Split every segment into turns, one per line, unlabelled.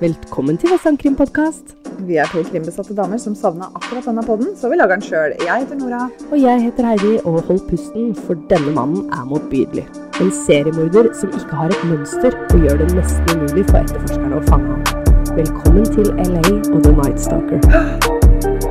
Velkommen til Vestsandkrimpodkast.
Vi er to krimbesatte damer som savna akkurat denne podden, så vi lager den sjøl. Jeg heter Nora.
Og jeg heter Heidi, og hold pusten, for denne mannen er motbydelig. En seriemorder som ikke har et mønster, og gjør det nesten umulig for etterforskerne å fange ham. Velkommen til LA og The Night Stalker.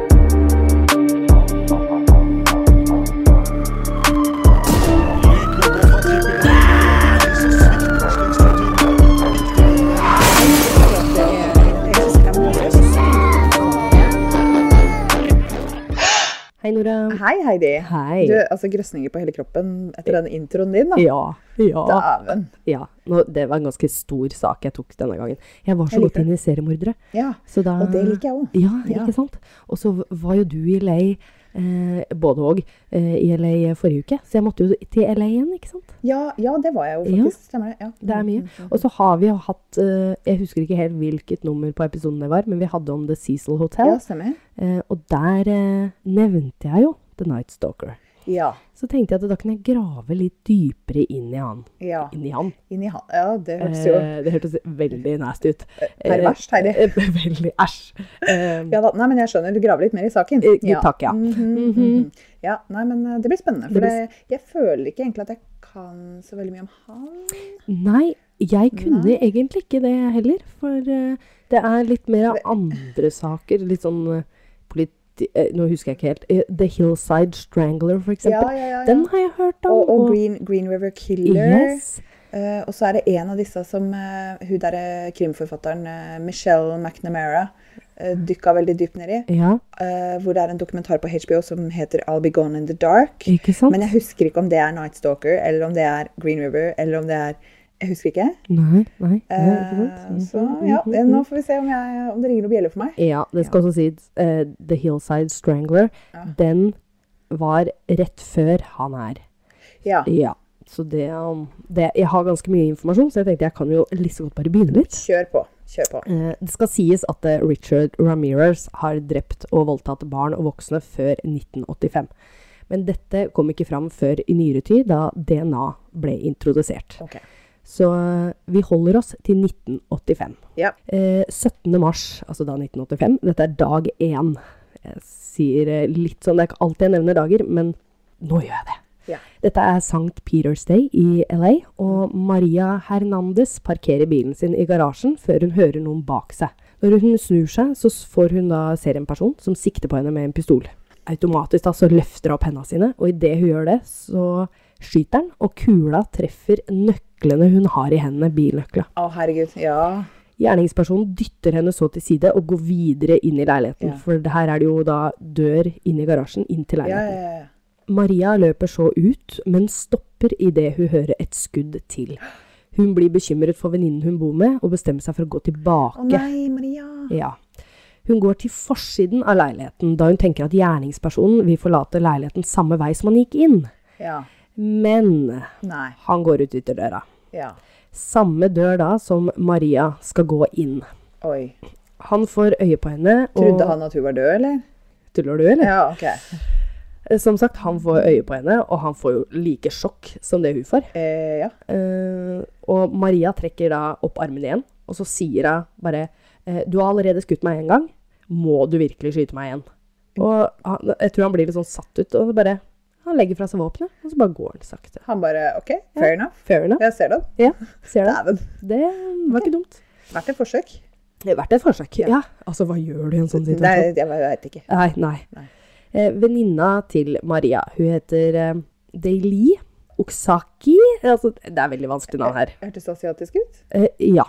Hei, Nora.
Hei, Heidi.
Hei.
Du, altså grøsninger på hele kroppen etter den introen din, da.
Ja. Ja.
Dæven.
ja. Nå, det var en ganske stor sak jeg tok denne gangen. Jeg var så
Jeg liker
godt inne i seriemordere.
Ja.
Så da,
Og det liker jeg òg.
Ja,
Ja.
ikke sant? Og så v- var jo du i LA, eh, både og, eh, i LA forrige uke. Så jeg måtte jo til LA igjen, ikke sant?
Ja, ja, det var jeg jo
Ja.
faktisk. Stemmer det. Ja.
Det er mye. Og så har vi jo hatt, eh, jeg husker ikke helt hvilket nummer på episoden det var, men vi hadde om The Cecil
Ja,
Hotel.
stemmer.
Eh, og der eh, nevnte jeg jo The Night Stalker.
Ja.
Så tenkte jeg at da kan jeg grave litt dypere inn i han.
Ja.
Inn i han.
Inn i han. Ja, det hørtes jo
Eh, det hørtes veldig nasty ut.
perverst, Heidi.
Eh, veldig æsj. Eh,
Ja da. Nei, men jeg skjønner. Du graver litt mer i saken.
Eh, takk, ja.
Mhm, mhm. Ja, nei, men eh, det blir spennende. For
Det blir-
det, jeg føler ikke egentlig at jeg kan så veldig mye om han.
Nei, jeg kunne egentlig ikke det heller. For eh, det er litt mer av andre saker. Litt sånn eh, politi... eh, nå husker jeg ikke helt. eh, The Hillside Strangler, for
Ja,
eksempel.
ja, ja. ja.
Den har jeg hørt om.
og, og Green, Green River Killer.
Yes.
Eh, og så er det en av disse som eh, hun der eh, krimforfatteren eh, Michelle McNamara uh, dykka veldig dypt ned i.
Ja,
eh, hvor det er en dokumentar på HBO som heter I'll Be Gone in the Dark.
ikke sant?
Men jeg husker ikke om det er Night Stalker, eller om det er Green River, eller om det er Jeg husker ikke.
Nei, nei. nei,
Eh,
ikke sant?
så ja, eh, nå får vi se om, jeg, om det ringer noen bjeller for meg.
Ja, det skal også sies. eh, The Hillside Strangler,
Ja.
den var rett før han er.
Ja.
Ja. Så det, um, det Jeg har ganske mye informasjon, så jeg tenkte jeg kan jo like så godt bare begynne litt.
Kjør på. Kjør på.
Eh, Det skal sies at eh, Richard Ramirez har drept og voldtatt barn og voksne før 1985. Men dette kom ikke fram før i nyere tid, da DNA ble introdusert.
Ok.
Så eh, vi holder oss til 1985.
Ja.
Eh, 17. mars, altså da 1985, dette er dag én. Jeg sier eh, litt sånn, det er ikke alltid jeg nevner dager, men nå gjør jeg det.
Ja.
Dette er St. Peter's Day i LA, og Maria Hernandez parkerer bilen sin i garasjen før hun hører noen bak seg. Når hun snur seg, så s- får hun da ser en person som sikter på henne med en pistol. Automatisk da, så løfter hun opp hendene sine, og idet hun gjør det, så skyter han, og kula treffer nøklene hun har i hendene, bilnøkla.
Å, herregud. Ja.
Gjerningspersonen dytter henne så til side og går videre inn i leiligheten.
Ja.
For det her er det jo da dør inn i garasjen, inn til
Ja,
leiligheten.
ja, ja.
Maria løper så ut, men stopper idet hun hører et skudd til. Hun blir bekymret for venninnen hun bor med, og bestemmer seg for å gå tilbake.
Å nei, Maria.
Ja. Hun går til forsiden av leiligheten, da hun tenker at gjerningspersonen vil forlate leiligheten samme vei som han gikk inn.
Ja.
Men
Nei.
han går ut ytterdøra.
Ja.
Samme dør da som Maria skal gå inn.
Oi.
Han får øye på henne og
Trodde han at hun var død, eller?
Tuller du, eller?
Ja, ok.
Som sagt, han får øye på henne, og han får jo like sjokk som det hun får.
Eh, ja.
Eh, og Maria trekker da opp armen igjen, og så sier hun bare eh, Du har allerede skutt meg én gang. Må du virkelig skyte meg igjen? Og han, jeg tror han blir litt sånn satt ut, og så bare Han legger fra seg våpenet, og så bare går han sakte.
Han bare OK, fair enough.
Fair enough.
Jeg ser den.
Ja, ser du?
Dæven.
Det var ikke dumt.
Verdt et forsøk.
Det er verdt et forsøk. Ja. Altså, hva gjør du i en sånn situasjon?
Nei, jeg veit ikke.
Nei, nei.
Nei.
Eh, venninna til Maria, hun heter eh, Daily Oksaki. Altså, det er veldig vanskelig navn her.
Hørtes asiatisk ut?
Eh, ja.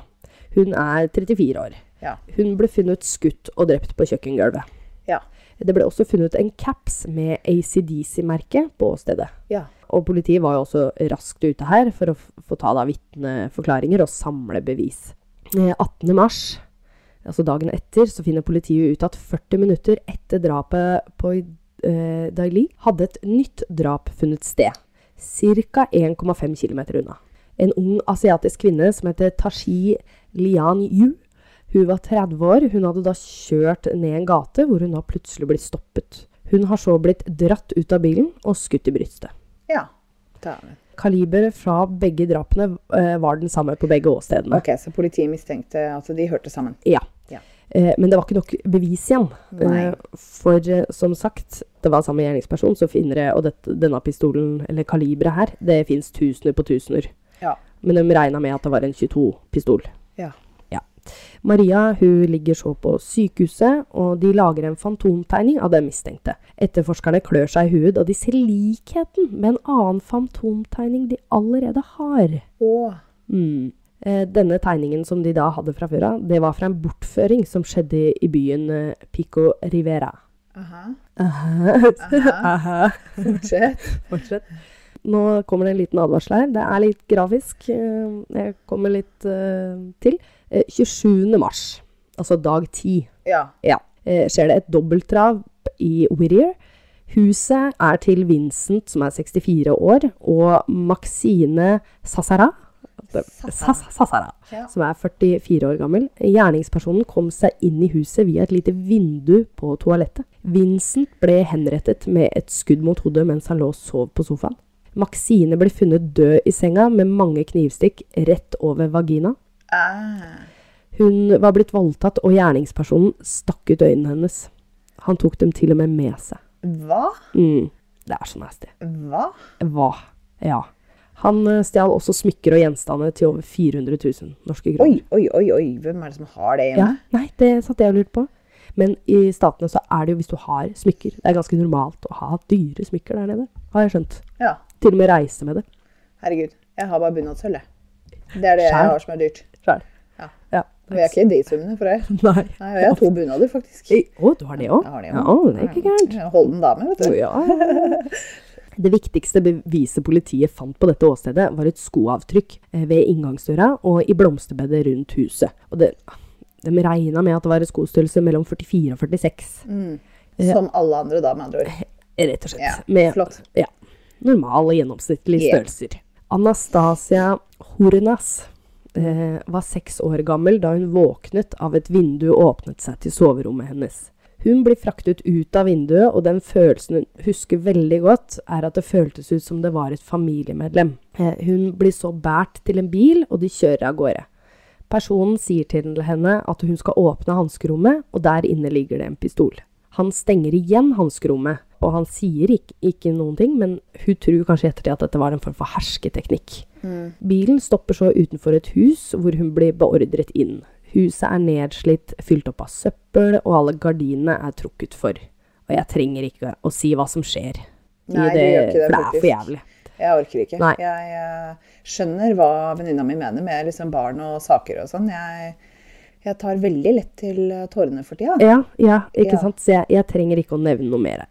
Hun er 34 år.
Ja.
Hun ble funnet skutt og drept på kjøkkengulvet.
Ja.
Det ble også funnet en caps med ACDC-merket på åstedet.
Ja.
Og politiet var jo også raskt ute her for å f- få ta da vitneforklaringer og samle bevis. Eh, 18. mars, altså dagen etter, så finner politiet ut at 40 minutter etter drapet på eh, Daili hadde et nytt drap funnet sted. Ca. 1,5 km unna. En ung asiatisk kvinne som heter Tashi Lian Yu. Hun var 30 år. Hun hadde da kjørt ned en gate, hvor hun da plutselig blir stoppet. Hun har så blitt dratt ut av bilen og skutt i brystet.
Ja. Dæven.
Kaliberet fra begge drapene eh, var den samme på begge åstedene.
Ok, Så politiet mistenkte at de hørte sammen.
Ja.
Ja.
Eh, men det var ikke nok bevis igjen.
Nei.
Eh, for eh, som sagt, det var samme gjerningsperson, så finner jeg, og dette, denne pistolen, eller kaliberet her, det fins tusener på tusener.
Ja.
Men de regna med at det var en 22-pistol.
Ja.
Ja. Maria hun ligger så på sykehuset, og de lager en fantomtegning av den mistenkte. Etterforskerne klør seg i huet, og de ser likheten med en annen fantomtegning de allerede har.
Å,
Mm. Eh, denne tegningen som de da hadde fra før av, det var fra en bortføring som skjedde i byen eh, Pico Rivera.
aha. Aha.
Aha.
Fortsett.
Fortsett. Nå kommer det en liten advarsel her. Det er litt grafisk. eh, Jeg kommer litt eh, til. Eh, 27. mars, altså dag 10,
Ja.
ja, eh, skjer det et dobbeltdrap i Whittier. Huset er til Vincent, som er 64 år, og Maxine Sassara. Sassara. Sassara
Ja.
som er 44 år gammel. Gjerningspersonen kom seg inn i huset via et lite vindu på toalettet. Vincent ble henrettet med et skudd mot hodet mens han lå og sov på sofaen. Maxine ble funnet død i senga med mange knivstikk rett over vagina.
Ah.
Hun var blitt voldtatt, og gjerningspersonen stakk ut øynene hennes. Han tok dem til og med med seg.
Hva?
Mm, det er så nasty.
Hva?
Hva? Ja. Han eh, stjal også smykker og gjenstander til over 400 000 norske kroner.
Oi, oi, oi, oi. Hvem er det som har det hjemme?
Ja, nei, det satt jeg og lurte på. Men i statene så er det jo hvis du har smykker. Det er ganske normalt å ha dyre smykker der nede, har jeg skjønt.
Ja.
Til og med reise med det
Herregud. Jeg har bare bunadssølv, jeg. Det er det jeg
Skjær.
har som er dyrt.
sjøl.
Ja.
ja.
Og jeg er ikke i de summene for det.
Nei.
Nei, og jeg har to bunader, faktisk.
Å, du har det òg?
Jeg har det
ja,
også.
det er ikke gærent.
Jeg er en Holden dame, vet du.
Ja. Det viktigste beviset politiet fant på dette åstedet, var et skoavtrykk eh, ved inngangsdøra og i blomsterbedet rundt huset. Og det, de regna med at det var en skostørrelse mellom 44 og 46,
Som alle andre da, med andre ord.
rett og slett.
Mm. Ja,
med
flott.
Ja. Normale, gjennomsnittlige
Yeah.
størrelser. Anastasia Hornas eh, var seks år gammel da hun våknet av et vindu og åpnet seg til soverommet hennes. Hun blir fraktet ut av vinduet, og den følelsen hun husker veldig godt, er at det føltes ut som det var et familiemedlem. Eh, hun blir så båret til en bil, og de kjører av gårde. Personen sier til henne at hun skal åpne hanskerommet, og der inne ligger det en pistol. Han stenger igjen hanskerommet, og han sier ikke, ikke noen ting, men hun tror kanskje i ettertid at dette var en form for hersketeknikk.
Mm.
Bilen stopper så utenfor et hus, hvor hun blir beordret inn. Huset er nedslitt, fylt opp av søppel, og alle gardinene er trukket for. Og jeg trenger ikke å si hva som skjer. i
Nei, du gjør ikke det,
for det er for
faktisk.
jævlig.
Jeg orker ikke.
Nei.
Jeg eh, skjønner hva venninna mi mener med liksom barn og saker og sånn. Jeg, jeg tar veldig lett til eh, tårene for tida.
Ja, ja ikke
Ja.
sant? Så jeg, jeg trenger ikke å nevne noe mer. her.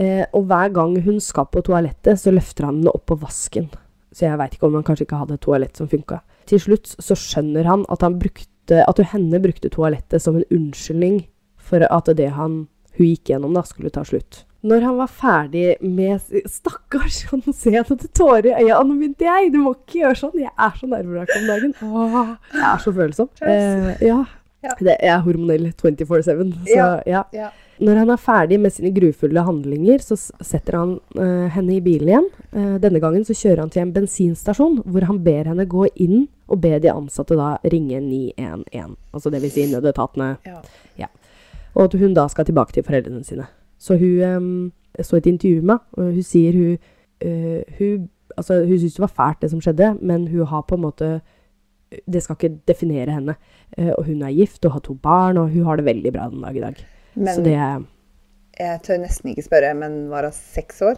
Eh, og hver gang hun skal på toalettet, så løfter han henne opp på vasken. Så jeg veit ikke om han kanskje ikke hadde et toalett som funka. Til slutt så skjønner han at, han brukte, at hun henne brukte toalettet som en unnskyldning for at det han, hun gikk gjennom, da, skulle ta slutt. Når han var ferdig med Stakkars, han ser jeg noen tårer i øya. Nå begynte jeg! Du må ikke gjøre sånn! Jeg er så nervevrak om dagen. Åh, jeg er så følsom. Eh, ja.
Ja.
Det, jeg er hormonell 24-7, så
Ja.
ja.
Ja.
Når han er ferdig med sine grufulle handlinger, så s- setter han eh, henne i bilen igjen. Eh, denne gangen så kjører han til en bensinstasjon, hvor han ber henne gå inn og be de ansatte da ringe 911. Altså det vil si nødetatene.
Ja.
Ja. Og at hun da skal tilbake til foreldrene sine. Så hun em, jeg så et intervju med henne, og hun sier hun eh, Hun, altså, hun syns det var fælt, det som skjedde, men hun har på en måte Det skal ikke definere henne. Eh, og hun er gift og har to barn, og hun har det veldig bra den dag i dag.
Men-
så det er
Jeg tør nesten ikke spørre, men var hun seks år?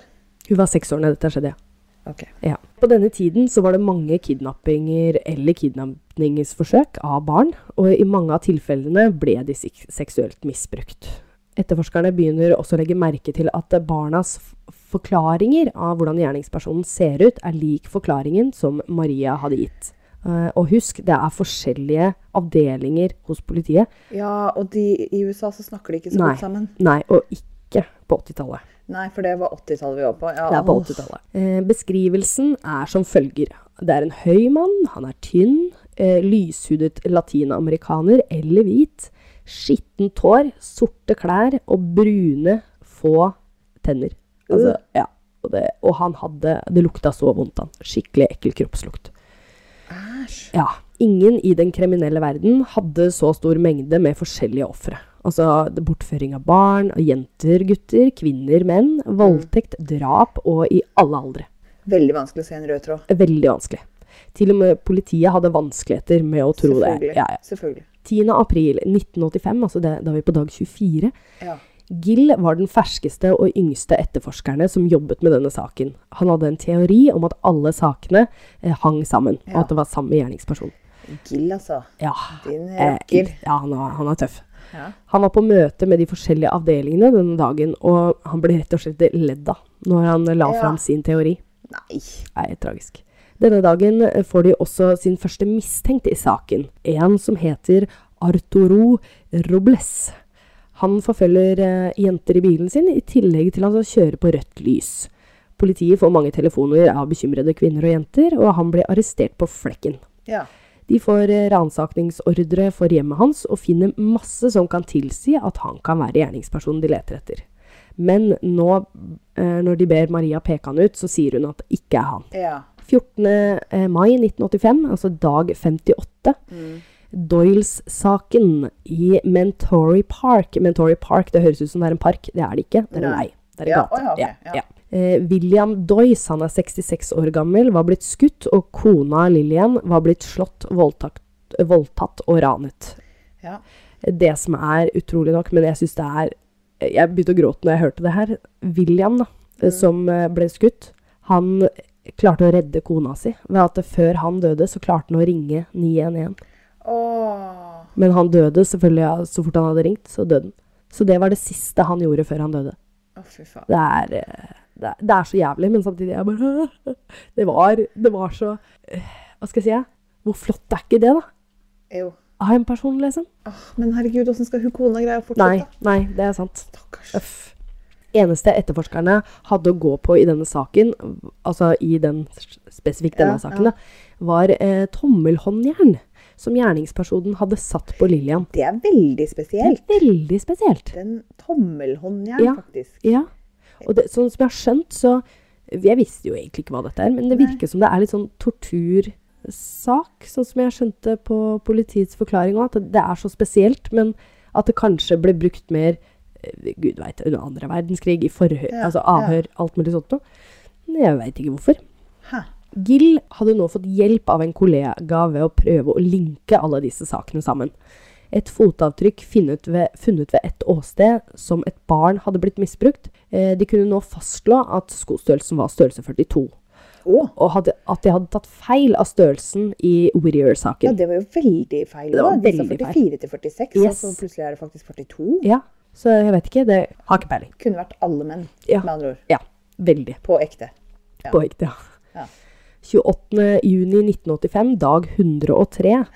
Hun var seks år da dette skjedde, ja.
Ok.
ja. På denne tiden så var det mange kidnappinger eller kidnappingsforsøk av barn, og i mange av tilfellene ble de sik- seksuelt misbrukt. Etterforskerne begynner også å legge merke til at barnas f- forklaringer av hvordan gjerningspersonen ser ut, er lik forklaringen som Maria hadde gitt. Eh, Og husk, det er forskjellige avdelinger hos politiet.
Ja, og de i USA så snakker de ikke så
Nei,
godt sammen.
nei og ikke på 80-tallet.
Nei, for det var 80-tallet vi var på. Ja,
Det er på
åh.
80-tallet. Eh, beskrivelsen er som følger. Det er en høy mann, han er tynn, eh, lyshudet latinamerikaner eller hvit, skittent hår, sorte klær og brune, få tenner. Altså, ja. Og, det, og han hadde Det lukta så vondt, han. Skikkelig ekkel kroppslukt.
Æsj.
Ja. Ingen i den kriminelle verden hadde så stor mengde med forskjellige ofre. Altså det- bortføring av barn, og jenter, gutter, kvinner, menn, voldtekt, drap og i alle aldre.
Veldig vanskelig å se en rød tråd.
Veldig vanskelig. Til og med politiet hadde vanskeligheter med å tro det.
Selvfølgelig.
Ja, ja.
Selvfølgelig.
10. april 1985, altså det, da er vi på dag 24,
Ja.
Gill var den ferskeste og yngste etterforskerne som jobbet med denne saken. Han hadde en teori om at alle sakene eh, hang sammen, og
Ja.
at det var samme gjerningsperson.
Gill, altså.
Ja,
Din
eh,
rakker.
ja han, er, han er tøff.
Ja.
Han var på møte med de forskjellige avdelingene denne dagen, og han ble rett og slett ledd av når han la
Ja.
fram sin teori.
Nei.
Det er tragisk. Denne dagen eh, får de også sin første mistenkt i saken, en som heter Arturo Robles. Han forfølger eh, jenter i bilen sin, i tillegg til at han kjører på rødt lys. Politiet får mange telefoner av bekymrede kvinner og jenter, og han blir arrestert på flekken.
Ja.
De får eh, ransakningsordre for hjemmet hans og finner masse som kan tilsi at han kan være gjerningspersonen de leter etter. Men nå, eh, når de ber Maria peke han ut, så sier hun at det ikke er han.
Ja.
14. eh, mai 1985, altså dag 58,
Mm.
Doyles-saken i Mentory Park. Mentory Park, det høres ut som det er en park. Det er det ikke. Det er en
Nei.
vei. Det er en
Mm. Ja,
gate.
å ja, ok, ja.
Eh, William Doyce, han er 66 år gammel, var blitt skutt, og kona Lillian var blitt slått, voldtatt, voldtatt og ranet.
ja.
Det som er utrolig nok, men jeg syns det er Jeg begynte å gråte når jeg hørte det her. William, da, eh, som eh, ble skutt, han klarte å redde kona si ved at før han døde, så klarte han å ringe 911.
Åh.
Men han døde selvfølgelig ja, så fort han hadde ringt, så døde han. Så det var det siste han gjorde før han døde.
Å, fy faen.
Det er, eh, det er, det er så jævlig, men samtidig er jeg bare det var, det var så eh, Hva skal jeg si? ja? Hvor flott er ikke det, da?
Jo.
Av en person, liksom?
Åh, men herregud, åssen skal hun kona greie å
Nei,
fortsette?
nei, det er sant.
Stakkars.
Uff. Eneste etterforskerne hadde å gå på i denne saken, altså i den spesifikt denne
Ja,
saken, da, var eh, tommelhåndjern som gjerningspersonen hadde satt på Lillian.
Det er veldig
Det
spesielt.
er veldig spesielt.
Den tommelhåndjern,
Ja.
faktisk.
Ja. Og det, sånn som jeg har skjønt, så Jeg visste jo egentlig ikke hva dette er, men det
Nei.
virker som det er litt sånn tortursak, sånn som jeg skjønte på politiets forklaring òg, at det er så spesielt, men at det kanskje ble brukt mer eh, Gud veit, under andre verdenskrig, i forhør,
Ja,
altså
ja.
avhør, alt mulig sånt noe. Men Jeg veit ikke hvorfor.
Hæ.
Gill hadde nå fått hjelp av en kollega ved å prøve å linke alle disse sakene sammen. Et fotavtrykk funnet ved, funnet ved et åsted som et barn hadde blitt misbrukt. Eh, de kunne nå fastslå at skostørrelsen var størrelse 42,
Å.
og hadde, at de hadde tatt feil av størrelsen i
Ja,
Whittier-saken.
det var jo veldig feil.
Det var
da. De sa
veldig feil.
44 til 46, og
Yes.
så plutselig er det faktisk 42.
Ja, så jeg vet ikke, det har ikke peiling.
Kunne vært alle menn,
Ja.
med andre ord.
Ja, veldig.
På ekte. Ja.
På ekte, ja.
Ja.
28. juni 1985, dag 103,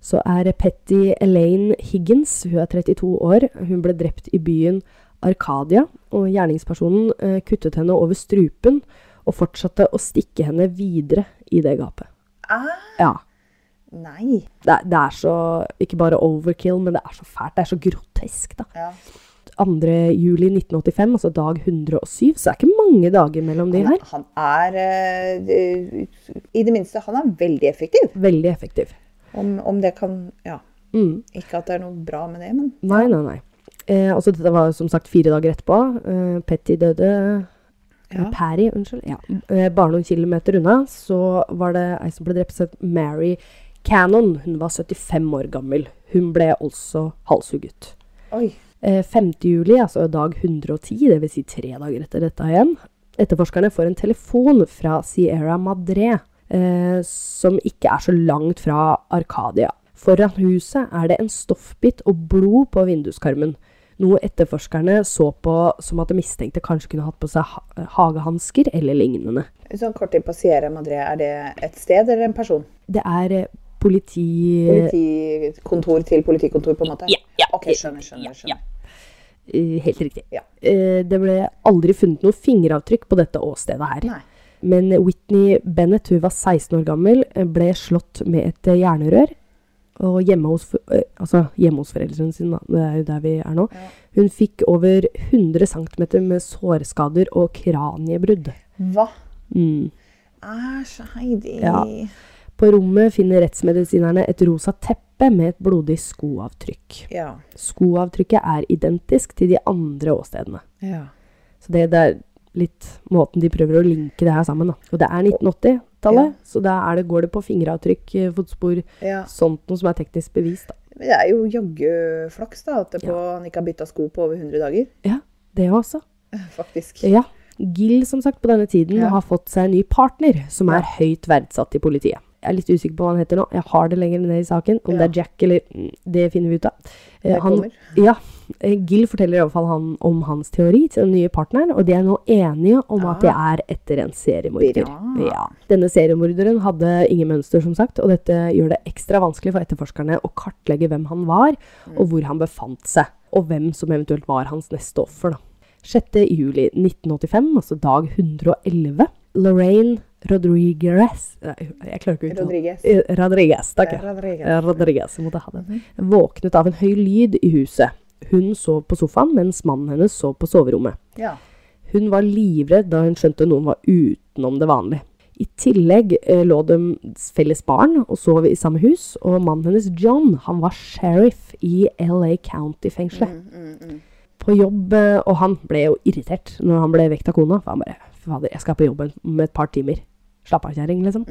så er Petty Elaine Higgins, hun er 32 år, hun ble drept i byen Arkadia, og gjerningspersonen eh, kuttet henne over strupen og fortsatte å stikke henne videre i det gapet.
Ah,
Ja,
nei.
det, er- det er så, ikke bare overkill, men det er så fælt, det er så grotesk da.
Ja.
2. juli 1985, altså dag 107, så det er ikke mange dager mellom de her.
Han er eh, det- I det minste, han er veldig effektiv.
Veldig effektiv.
Om, om det kan Ja.
Mm.
Ikke at det er noe bra med det, men
Nei, nei, nei. Eh, altså, dette var som sagt fire dager etterpå. Eh, Petty døde
Ja.
eh, Patty, unnskyld. Ja. Eh, bare noen kilometer unna så var det ei som ble drept, som het Mary Cannon. Hun var 75 år gammel. Hun ble også halshugget.
Oi.
Eh, 5. juli, altså dag 110, dvs. Si tre dager etter dette igjen, etterforskerne får en telefon fra Sierra Madre, eh, som ikke er så langt fra Arkadia. Foran huset er det en stoffbit og blod på vinduskarmen, noe etterforskerne så på som at det mistenkte kanskje kunne hatt på seg ha hagehansker eller lignende.
Sånn kort inn på Sierra Madre, er det et sted eller en person?
Det er eh, politi...
Politikontor til politikontor, på en måte?
Eh. Ja, ja.
Ok, skjønner, skjønner.
Ja, ja.
skjønner.
Eh, Helt riktig.
Ja.
Eh, Det ble aldri funnet noe fingeravtrykk på dette åstedet her.
Nei.
Men Whitney Bennett, hun var 16 år gammel, eh, ble slått med et eh, jernrør. Og hjemme hos, for- eh, altså hjemme hos foreldrene sine, da. det er jo der vi er nå. Hun fikk over 100 cm med sårskader og kraniebrudd.
Hva?
Mm.
Æsj, Heidi.
Ja. På rommet finner rettsmedisinerne et rosa teppe med et blodig skoavtrykk.
Ja.
Skoavtrykket er identisk til de andre åstedene.
ja.
Så det, det er litt måten de prøver å linke det her sammen. Da. Og det er 1980-tallet, så da er det, går det på fingeravtrykk, eh, fotspor,
ja.
sånt noe som er teknisk bevis. Da.
Men det er jo jaggu flaks da, at det på, han ikke har bytta sko på over 100 dager.
Ja, det også.
Faktisk.
Ja. Gill, som sagt, på denne tiden
Ja.
har fått seg en ny partner, som er høyt verdsatt i politiet. Jeg er litt usikker på hva han heter nå. Jeg har det lenger ned i saken. Om det
Ja.
er Jack eller mm, Det finner vi ut av. Eh,
Det
han,
kommer.
ja, eh, Gill forteller i hvert fall han om hans teori til den nye partneren, og de er nå enige om at de er etter en seriemorder.
Ah. Bra.
Ja. Denne seriemorderen hadde ingen mønster, som sagt, og dette gjør det ekstra vanskelig for etterforskerne å kartlegge hvem han var, og hvor han befant seg, og hvem som eventuelt var hans neste offer. Da. 6. juli 1985, altså dag 111, Lorraine Rodriguez Nei, Jeg klarer ikke å uttale
Rodriguez.
Eh, Rodriguez, takk. ja.
Rodriguez.
Eh, Rodriguez jeg måtte ha den. Våknet av en høy lyd i huset. Hun sov på sofaen, mens mannen hennes sov på soverommet.
Ja.
Hun var livredd da hun skjønte noen var utenom det vanlige. I tillegg eh, lå de felles barn og sov i samme hus, og mannen hennes, John, han var sheriff i LA County-fengselet.
Mm,
På jobb, eh, og han ble jo irritert når han ble vekt av kona. For han bare Fader, jeg skal på jobb om et par timer. Slapp av, kjerring, liksom.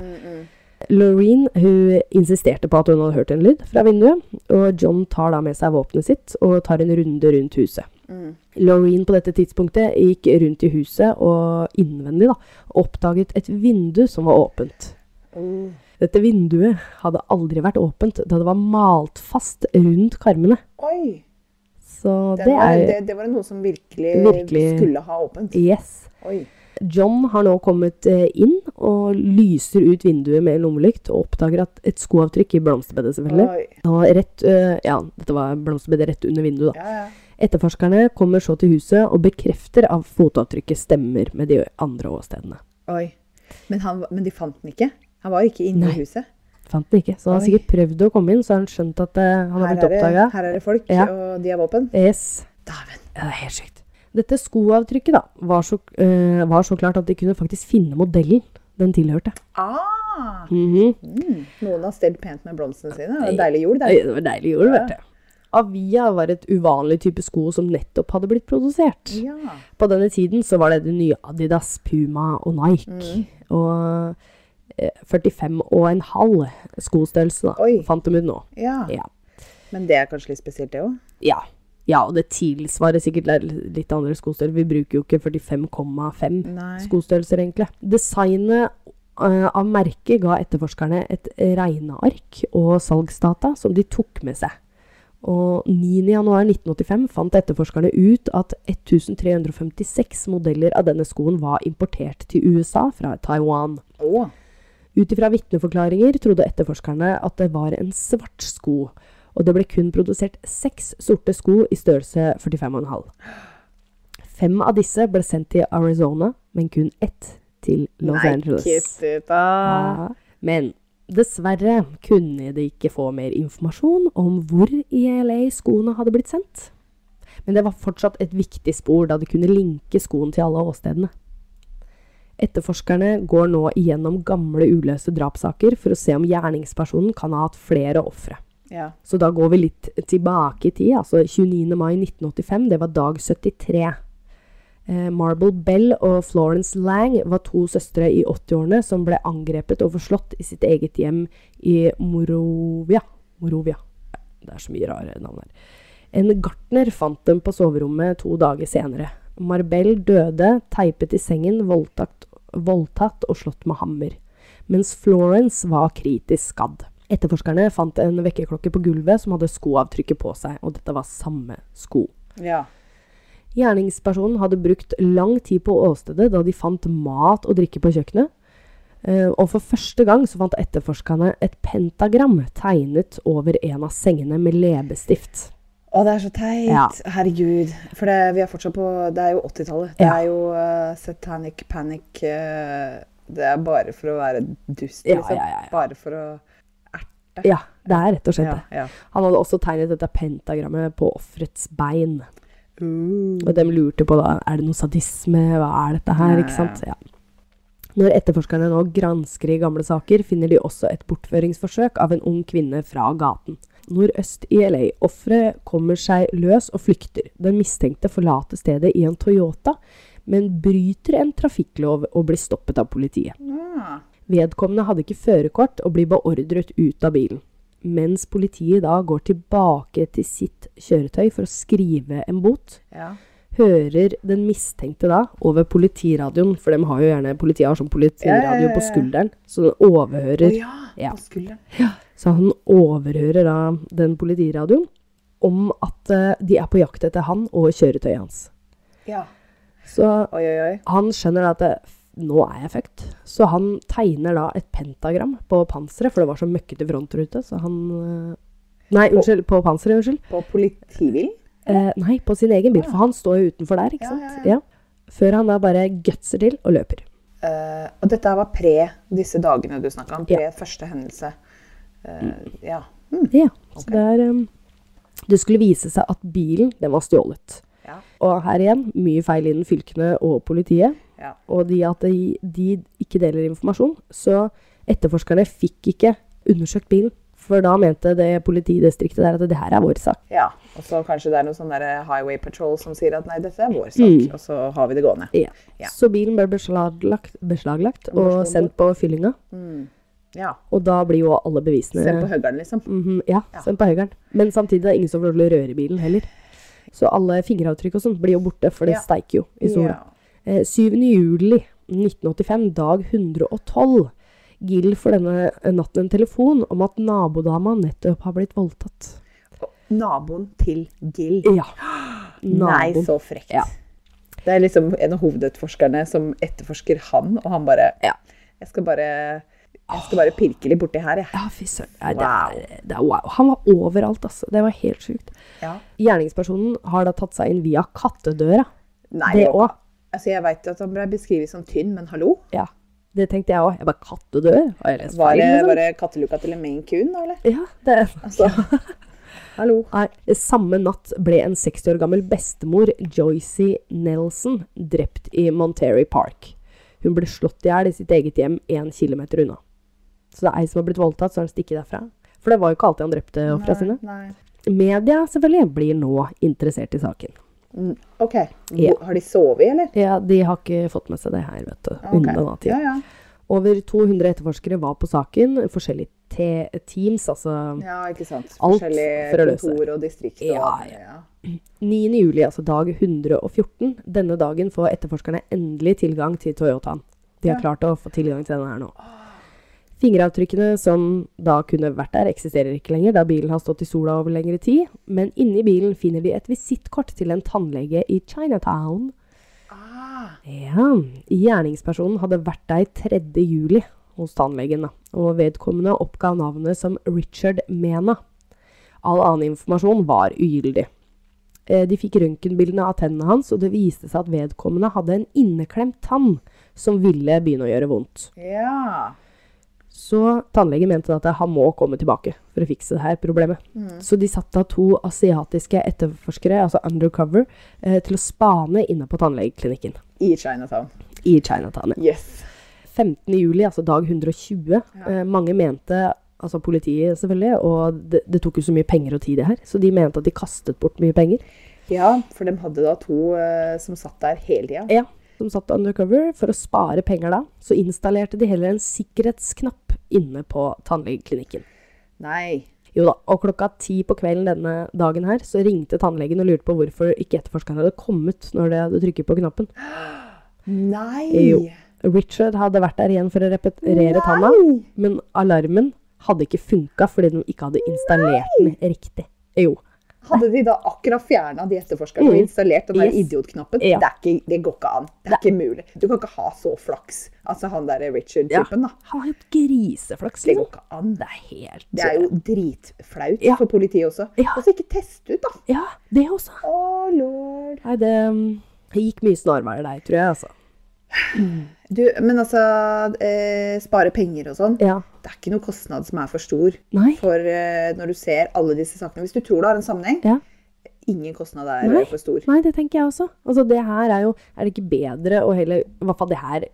Loreen hun insisterte på at hun hadde hørt en lyd fra vinduet, og John tar da med seg våpenet sitt og tar en runde rundt huset.
mm.
Loreen på dette tidspunktet gikk rundt i huset og innvendig da, og oppdaget et vindu som var åpent.
Oh.
Dette vinduet hadde aldri vært åpent da det var malt fast rundt karmene.
Oi!
Så
Den
det
var,
er
det, det var noe som virkelig,
Virkelig.
skulle ha åpent.
Yes.
Oi.
John har nå kommet eh, inn og lyser ut vinduet med en lommelykt og oppdager at et skoavtrykk i blomsterbedet, selvfølgelig.
Oi.
Og rett, eh, ja, dette var blomsterbedet rett under vinduet, da.
Ja, ja.
Etterforskerne kommer så til huset og bekrefter at fotavtrykket stemmer med de andre åstedene.
Oi. Men, han, men de fant den ikke? Han var ikke inne
Nei.
i huset?
Fant den ikke, så han har
Oi.
sikkert prøvd å komme inn, så har han skjønt at eh, han har
Her
blitt
er, det,
oppdaga.
her er det folk,
Ja.
og de har våpen?
Yes.
Dæven.
Ja, det er helt sykt. Dette skoavtrykket da, var så, eh, var så klart at de kunne faktisk finne modellen den tilhørte.
Ah!
Mhm.
Mm. Noen har stelt pent med blomstene sine. Og deilig jord der.
Oi, Det var deilig gjort, vet du. Avia var et uvanlig type sko som nettopp hadde blitt produsert.
Ja.
På denne tiden så var det det nye Adidas, Puma og Nike.
Mm.
Og eh, 45 og en halv skostørrelse, da,
Oi.
fant de ut nå.
ja.
Ja.
Men det er kanskje litt spesielt, det òg?
ja. Ja, og det tilsvarer sikkert le- litt andre skostørrelser. Vi bruker jo ikke 45,5
Nei.
skostørrelser, egentlig. Designet eh, av merket ga etterforskerne et regneark og salgsdata som de tok med seg. Og 9.1.1985 fant etterforskerne ut at 1356 modeller av denne skoen var importert til USA fra Taiwan.
Å.
Ut ifra vitneforklaringer trodde etterforskerne at det var en svart sko, og det ble kun produsert seks sorte sko i størrelse 45,5. Fem av disse ble sendt til Arizona, men kun ett til Los
Nei,
Angeles.
kutt ut, da.
Ja. Men dessverre kunne de ikke få mer informasjon om hvor i LA skoene hadde blitt sendt. Men det var fortsatt et viktig spor, da de kunne linke skoen til alle åstedene. Etterforskerne går nå igjennom gamle uløste drapssaker for å se om gjerningspersonen kan ha hatt flere ofre.
Ja.
Så da går vi litt tilbake i tid. Altså 29. mai 1985, det var dag 73. Eh, Marble Bell og Florence Lang var to søstre i 80-årene som ble angrepet og forslått i sitt eget hjem i Morovia. Morovia. Det er så mye rare navn her. En gartner fant dem på soverommet to dager senere. Marbell døde, teipet i sengen, voldtatt, voldtatt og slått med hammer. Mens Florence var kritisk skadd. Etterforskerne fant en vekkerklokke på gulvet som hadde skoavtrykket på seg, og dette var samme sko.
ja.
Gjerningspersonen hadde brukt lang tid på åstedet da de fant mat og drikke på kjøkkenet. Eh, Og for første gang så fant etterforskerne et pentagram tegnet over en av sengene med leppestift.
Å, det er så teit.
Ja.
Herregud. For det, vi er fortsatt på Det er jo 80-tallet. Det
Ja.
er jo eh, satanic panic eh, Det er bare for å være dust,
Ja,
liksom.
ja, ja, ja.
Bare for å erte.
Ja, det er rett og slett
Ja,
det.
ja.
Han hadde også tegnet dette pentagrammet på offerets bein.
Uh.
Og de lurte på da, er det noe sadisme, hva er dette her, ikke sant? Ja. Når etterforskerne nå gransker i gamle saker, finner de også et bortføringsforsøk av en ung kvinne fra gaten. Nordøst i LA. Offeret kommer seg løs og flykter. Den mistenkte forlater stedet i en Toyota, men bryter en trafikklov og blir stoppet av politiet.
Ah.
Vedkommende hadde ikke førerkort og blir beordret ut av bilen. Mens politiet da går tilbake til sitt kjøretøy for å skrive en bot,
Ja.
hører den mistenkte da over politiradioen, for de har jo gjerne politiet har sånn
Ja,
politiradio
ja, ja,
på
ja.
skulderen, så den overhører
Å ja,
Ja.
på skulderen.
så han overhører da den politiradioen om at eh, de er på jakt etter han og kjøretøyet hans.
Ja.
Så
Oi, oi, oi.
han skjønner da at det, nå er jeg fucked. Så han tegner da et pentagram på panseret, for det var så møkkete frontrute, så han eh, Nei, unnskyld. På panseret, unnskyld.
På politibilen?
Eh, nei, på sin egen bil, for han står jo utenfor der, ikke
Ja,
sant?
ja, ja.
Før han da bare gutser til og løper.
Eh, og dette her var pre disse dagene du snakka om. Pre
Ja.
første hendelse. Eh, ja. Mm.
Ja, så det er eh, Det skulle vise seg at bilen, den var stjålet.
ja.
Og her igjen, mye feil innen fylkene og politiet.
Ja.
Og de at de, de ikke deler informasjon. Så etterforskerne fikk ikke undersøkt bilen. For da mente det politidistriktet der at det her er vår sak.
Ja, og så kanskje det er noen sånn der highway patrol som sier at nei, dette er vår sak, og så har vi det gående. Ja.
Så bilen ble beslaglagt, beslaglagt og sendt på fyllinga.
Ja,
Og da blir jo alle bevisene
Se på høggeren, liksom.
Mhm, ja, sendt på høyeren. Men samtidig er det ingen som får lov til å røre i bilen heller. Så alle fingeravtrykk og sånt blir jo borte, for det
Ja.
steiker jo i sola.
Ja.
Eh, 7. juli 1985, dag 112, Gill får denne eh, natten en telefon om at nabodama nettopp har blitt voldtatt.
Og Naboen til Gill.
Ja.
Nei,
Naboen.
så frekt.
Ja.
Det er liksom en av hovedetterforskerne som etterforsker han, og han bare
Ja.
Jeg skal bare, jeg skal bare pirke litt borti her, jeg.
Ja, fy søren. Nei, det er- det er Wow. Han var overalt, altså. Det var helt sjukt.
Ja.
Gjerningspersonen har da tatt seg inn via kattedøra.
Nei,
Det
det var-
òg.
Altså, jeg veit at han ble beskrevet som tynn, men hallo?
Ja. Det tenkte jeg òg. Jeg bare Kattedør? Har jeg lest
Var
feil?
det
liksom?
bare katteluka til en main coon, da, eller?
Ja, det
Altså, hallo.
Nei, samme natt ble en 60 år gammel bestemor, Joycey Nelson, drept i Monterey Park. Hun ble slått i hjel i sitt eget hjem én kilometer unna. Så det er ei som har blitt voldtatt, så har han stikket derfra. For det var jo ikke alltid han drepte ofra sine.
Nei.
Media selvfølgelig blir nå interessert i saken.
Mm, OK.
Ja.
Har de sovet, eller?
Ja, De har ikke fått med seg det her, vet du.
Ok.
Unna da tida.
Ja, ja.
Over 200 etterforskere var på saken. Forskjellige te teams, altså
Ja, ikke sant.
Alt
Forskjellige
for å løse.
kontor og distrikt. Og,
Ja, ja. 9. juli, altså dag 114, denne dagen får etterforskerne endelig tilgang til Toyotaen. De har klart å få tilgang til denne her nå. Fingeravtrykkene som da kunne vært der, eksisterer ikke lenger, da bilen har stått i sola over lengre tid. Men inni bilen finner de et visittkort til en tannlege i Chinatown. Ja, Gjerningspersonen hadde vært der 3. juli hos tannlegen, da, og vedkommende oppga navnet som Richard Mena. All annen informasjon var ugyldig. Eh, De fikk røntgenbildene av tennene hans, og det viste seg at vedkommende hadde en inneklemt tann som ville begynne å gjøre vondt.
Ja.
Så tannlegen mente at han må komme tilbake for å fikse det her problemet. Så de satte da to asiatiske etterforskere, altså undercover, eh, til å spane inne på tannlegeklinikken
I Chinatown.
i Chinatown. ja.
Yes.
15. juli, altså dag 120. Eh, mange mente, altså politiet selvfølgelig, og det, det tok jo så mye penger og tid det her, så de mente at de kastet bort mye penger.
Ja, for de hadde da to eh, som satt der hele tida.
Ja, som satt undercover for å spare penger da, så installerte de heller en sikkerhetsknapp inne på tannlegeklinikken.
Nei.
Jo da, og klokka ti på kvelden denne dagen her, så ringte tannlegen og lurte på hvorfor ikke etterforskerne hadde kommet når det hadde trykket på knappen.
Nei!
Jo, Richard hadde vært der igjen for å reparere tanna,
Nei!
men alarmen hadde ikke funket fordi den ikke hadde installert den riktig. Jo,
Hadde de da akkurat fjerna de etterforskerne og installert den der
Yes.
idiotknappen?
Ja.
Det, er ikke, det går ikke an. Det er ikke mulig. Du kan ikke ha så flaks. Altså han der Richard-typen, da.
han har jo et griseflaks.
Det går
Liksom.
ikke an.
Det er helt...
Det er jo dritflaut
Ja.
for politiet også.
Ja.
Og så ikke teste ut, da.
Ja, det også.
Å, lord.
Nei, det, um, det gikk mye snarveier der, tror jeg, altså.
Du, men altså, eh, spare penger og sånn.
Ja.
Det er ikke noe kostnad som er for stor
Nei.
for eh, når du ser alle disse sakene. Hvis du tror det har en sammenheng,
Ja.
ingen kostnad er eh, for stor.
Nei, det tenker jeg også. Altså, det her er jo Er det ikke bedre å heller I hvert fall det her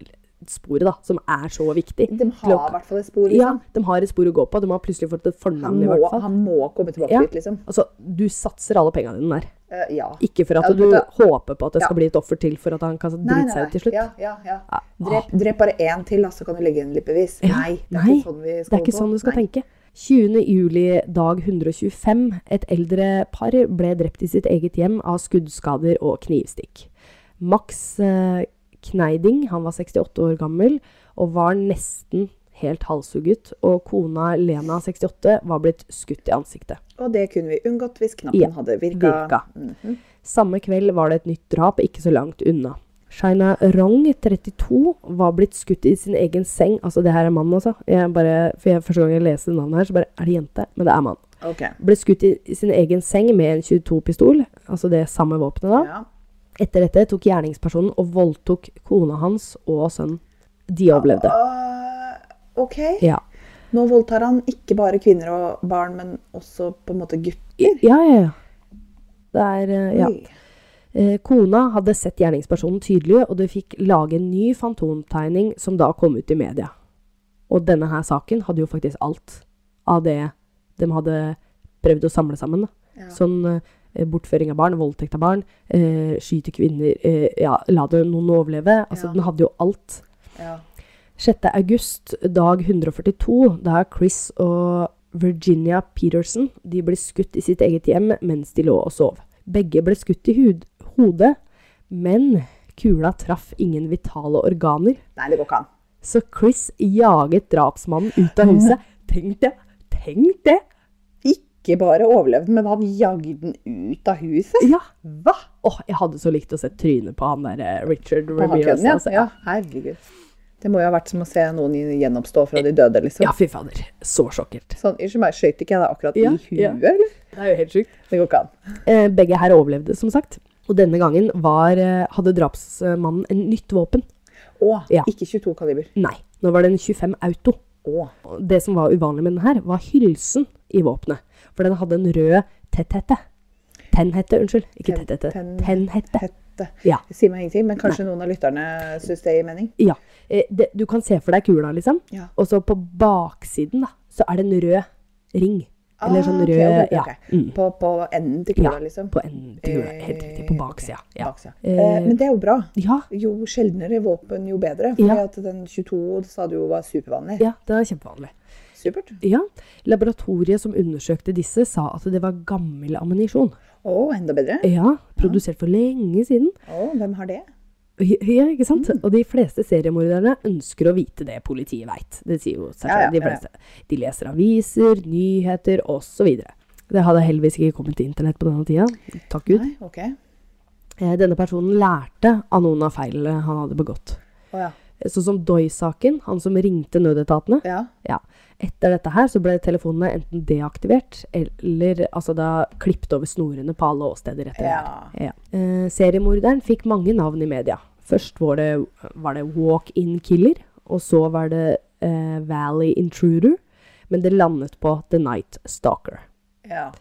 sporet, da, som er så viktig.
De har i hvert fall et spor.
Ja,
Liksom.
de har et spor å gå på. De har plutselig fått et
Han,
fornavn, i hvert
må,
fall.
han må komme tilbake
Ja.
dit, liksom.
Altså, du satser alle pengene dine der.
Eh, ja.
Ikke for at
Ja,
du
vet
håper på at det skal
Ja.
bli et offer til for at han kan drite seg ut til slutt. Ah.
Ja, ja, ja. Drep, drep bare én til, da, så kan du legge inn litt bevis. Nei, det er
Nei,
ikke sånn vi skal
det er ikke
gå.
sånn du skal
Nei.
tenke. 20. juli, dag 125. Et eldre par ble drept i sitt eget hjem av skuddskader og knivstikk. Max eh, Kneiding, han var 68 år gammel, og var nesten helt halshugget. Og kona Lena, 68, var blitt skutt i ansiktet.
Og det kunne vi unngått hvis knappen
Ja,
hadde Mhm. virka.
virka. Samme kveld var det et nytt drap ikke så langt unna. Shaina Rong, 32, var blitt skutt i sin egen seng. Altså, det her er mann, altså. Jeg bare, for jeg, første gang jeg leser navnet her, så bare Er det jente? Men det er mann.
Ok.
Ble skutt i, i sin egen seng med en 22-pistol, altså det samme våpenet, da.
Ja.
Etter dette tok gjerningspersonen og voldtok kona hans og sønnen. De overlevde.
Ah, ok.
Ja.
Nå voldtar han ikke bare kvinner og barn, men også på en måte gutter.
Ja, ja, ja. Det er eh, Ja.
Oi.
Eh, Kona hadde sett gjerningspersonen tydelig, og det fikk lage en ny fantomtegning som da kom ut i media. Og denne her saken hadde jo faktisk alt av det de hadde prøvd å samle sammen. Da.
Ja.
Sånn eh, bortføring av barn, voldtekt av barn, eh, skyte kvinner, eh, ja, la det noen overleve. Altså,
Ja.
den hadde jo alt.
Ja.
6. august, dag 142, da er Chris og Virginia Peterson de ble skutt i sitt eget hjem mens de lå og sov. Begge ble skutt i hud hodet, men kula traff ingen vitale organer.
Nei, det går ikke an.
Så Chris jaget drapsmannen ut av huset. Tenk det! Tenk det!
Ikke bare overlevde den, men han jagde den ut av huset.
Ja.
Hva?
Åh, jeg hadde så likt å se trynet på han der eh, Richard
På
Ramirez.
hakkønnen, ja.
altså.
ja. Herregud. Det må jo ha vært som å se noen gjenoppstå fra de døde, liksom.
ja, fy fader. Så sjokkert.
Sånn, unnskyld meg, skjøt ikke jeg deg akkurat
Ja,
i huet,
ja.
eller?
Det er jo helt sjukt.
Det går ikke an.
Eh, Begge her overlevde, som sagt. Og denne gangen var, eh, hadde drapsmannen en nytt våpen.
Å,
Ja.
ikke 22 kaliber.
Nei, nå var det en 25 auto.
Å.
Og Det som var uvanlig med den her, var hylsen i våpenet. For den hadde en rød tetthette. Tennhette, unnskyld. Ikke
Ten-
tetthette.
ten-
Tennhette.
Hette.
Ja.
Det sier meg ingenting, men kanskje noen av lytterne syns det gir mening.
ja. Eh, Det, du kan se for deg kula, liksom.
Ja.
Og så på baksiden, da, så er det en rød ring. Eller sånn
Ah, ok,
rød
ok, ok, ok.
Ja. Mm.
På, på enden til kula,
Ja,
liksom?
På enden til kula. Helt
Eh,
riktig. På
ok.
baksida. Ja.
Baksida.
Eh,
Eh, men det er jo bra.
ja.
Jo sjeldnere våpen, jo bedre. For
Ja.
at den 22 sa du jo var supervanlig.
Ja, det er kjempevanlig.
Supert.
Ja. Laboratoriet som undersøkte disse, sa at det var gammel ammunisjon.
Å, enda bedre.
Ja, produsert for lenge siden.
Å, hvem har det?
Ja, ikke sant?
Mm.
Og de fleste seriemorderne ønsker å vite det politiet veit. Det sier jo seg
Ja, ja,
selv. De
ja, ja.
fleste. De leser aviser, nyheter osv. Det hadde heldigvis ikke kommet til internett på denne tida. Takk Gud.
Nei, ok.
Eh, Denne personen lærte av noen av feilene han hadde begått.
Å ja.
Eh, Sånn som Doy-saken, han som ringte nødetatene.
ja.
Ja. Etter dette her så ble telefonene enten deaktivert, eller altså da klippet over snorene på alle åsteder etter det
Ja.
her. Ja. Eh, seriemorderen fikk mange navn i media. Først var det, var det Walk-In Killer, og så var det eh, Valley Intruder, men det landet på The Night Stalker.
ja.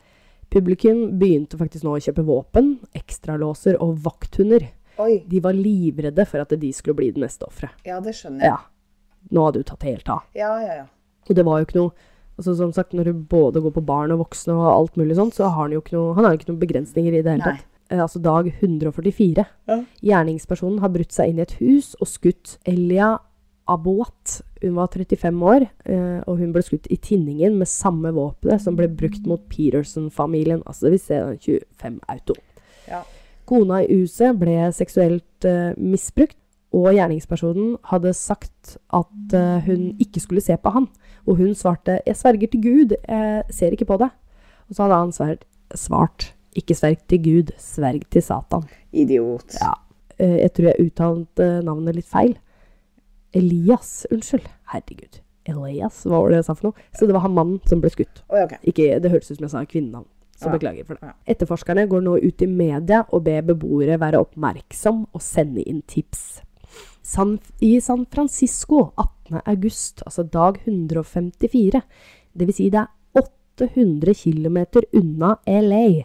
Publikum begynte faktisk nå å kjøpe våpen, ekstralåser og vakthunder.
Oi.
De var livredde for at de skulle bli det neste offeret.
Ja, det skjønner jeg.
Ja. Nå hadde du tatt helt av.
Ja, ja, ja.
Og det var jo ikke noe altså Som sagt, når du både går på barn og voksne og alt mulig sånt, så har han jo ikke noe, han har jo ikke noen begrensninger i det hele
Nei.
tatt. Eh, altså dag 144.
Ja.
Gjerningspersonen har brutt seg inn i et hus og skutt Elia Abouat. Hun var 35 år, eh, og hun ble skutt i tinningen med samme våpenet som ble brukt mot Peterson-familien. Altså det vil si en 25 auto.
Ja.
Kona i huset ble seksuelt eh, misbrukt, og gjerningspersonen hadde sagt at eh, hun ikke skulle se på han. Og hun svarte 'Jeg sverger til Gud, jeg ser ikke på deg'. Og så hadde han sver- svart 'Ikke sverg til Gud, sverg til Satan'.
Idiot.
Ja. Eh, jeg tror jeg uttalte eh, navnet litt feil. Elias, unnskyld. Herregud. Elias, hva var det jeg sa for noe? Så det var han mannen som ble skutt.
Oi, ok.
Ikke, det høres ut som jeg sa kvinnenavn. Så
Ja.
beklager for det.
Ja.
Etterforskerne går nå ut i media og ber beboere være oppmerksom og sende inn tips. San, I San Francisco 18. august, altså dag 154, dvs. Si det er 800 km unna LA.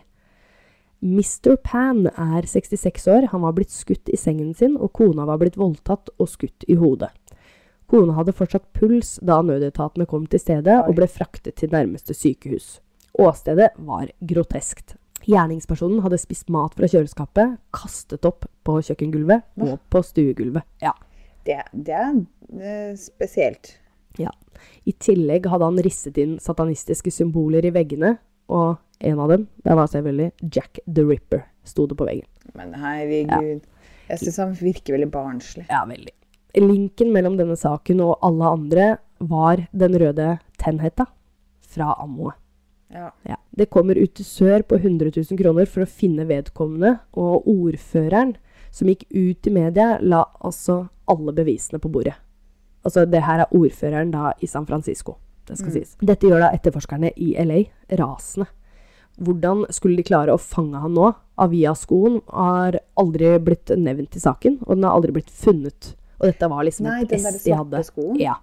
Mr. Pan er 66 år, han var blitt skutt i sengen sin, og kona var blitt voldtatt og skutt i hodet. Kona hadde fortsatt puls da nødetatene kom til stedet og ble fraktet til nærmeste sykehus. Åstedet var groteskt. Gjerningspersonen hadde spist mat fra kjøleskapet, kastet opp på kjøkkengulvet og på stuegulvet. Ja.
Det, det er eh, spesielt.
ja. I tillegg hadde han risset inn satanistiske symboler i veggene, og en av dem, der var selvfølgelig Jack the Ripper, sto det på veggen.
Men herregud. Jeg syns han virker veldig barnslig.
Ja, veldig. Linken mellom denne saken og alle andre var den røde tennhetta fra ammoet.
Ja.
Ja. Det kommer utusør på 100 000 kroner for å finne vedkommende, og ordføreren som gikk ut i media, la altså alle bevisene på bordet. Altså, det her er ordføreren da i San Francisco. Det
Mm.
skal sies. Dette gjør da etterforskerne i LA rasende. Hvordan skulle de klare å fange han nå? Avia-skoen har aldri blitt nevnt i saken, og den har aldri blitt funnet. Og dette var liksom
Nei,
et
den der
ess de
svarte
hadde.
skoen.
Ja.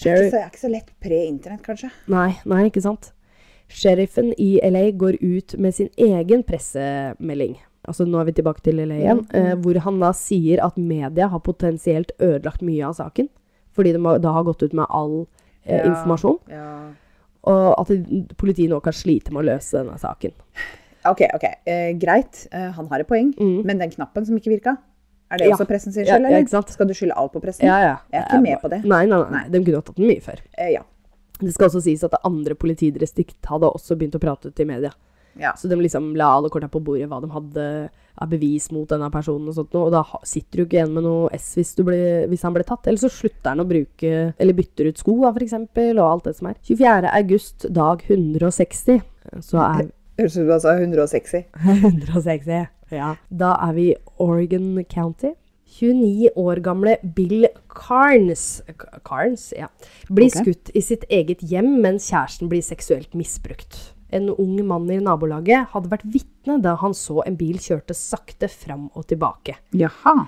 Det er ikke så, er ikke så lett pre-internett, kanskje.
Nei, nei, ikke sant? Sheriffen i LA går ut med sin egen pressemelding. Altså, nå er vi tilbake til LA igjen, eh, hvor han da sier at media har potensielt ødelagt mye av saken, fordi de har- da har gått ut med all eh,
Ja.
informasjon,
Ja.
og at det- politiet nå kan slite med å løse denne saken.
OK, ok, eh, greit. Eh, han har et poeng. Men den knappen som ikke virka, er det
Mm. Ja.
også pressen sin
Ja,
skyld,
ja,
eller?
ikke sant?
Skal du skylde alt på pressen?
Ja, ja.
Jeg er ikke med på det.
Nei, nei, nei, de kunne ha tatt den mye før.
Eh, ja.
Det skal også sies at det andre politidistrikt hadde også begynt å prate til media.
ja.
Så de liksom la alle korta på bordet, hva de hadde av bevis mot denne personen og sånt noe, og da ha- sitter du ikke igjen med noe S hvis, du ble, hvis han ble tatt. Eller så slutter han å bruke, eller bytter ut sko da, for eksempel, og alt det som er. 24. august, dag 160, så er
Høres ut som du sa 160.
160. Ja. Da er vi i Oregon County. 29 år gamle Bill Carnes, K- Carnes ja, blir
Ok.
skutt i sitt eget hjem mens kjæresten blir seksuelt misbrukt. En ung mann i nabolaget hadde vært vitne da han så en bil kjørte sakte fram og tilbake.
Jaha.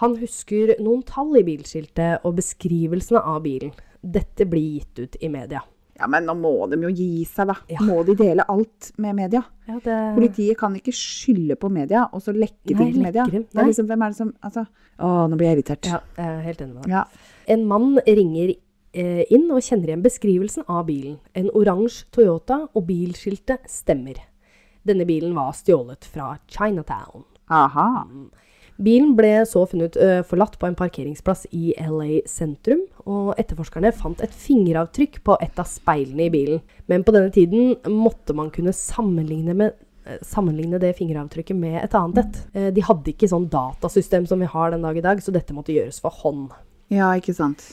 Han husker noen tall i bilskiltet og beskrivelsene av bilen. Dette blir gitt ut i media.
Ja, men nå må de jo gi seg, da.
Ja.
Må de dele alt med media?
Ja, det...
Politiet kan ikke skylde på media, og så lekke ting
Nei,
til media.
lekker dem.
Det
Nei.
er liksom, hvem er det som altså, Å, nå blir jeg irritert.
ja, jeg er helt enig med deg.
Ja.
En mann ringer eh, inn og kjenner igjen beskrivelsen av bilen. En oransje Toyota og bilskiltet stemmer. Denne bilen var stjålet fra Chinatown.
Aha.
Bilen ble så funnet eh, forlatt på en parkeringsplass i LA sentrum, og etterforskerne fant et fingeravtrykk på et av speilene i bilen. Men på denne tiden måtte man kunne sammenligne, med, eh, sammenligne det fingeravtrykket med et annet et. Eh, De hadde ikke sånn datasystem som vi har den dag i dag, så dette måtte gjøres for hånd.
Ja, ikke sant.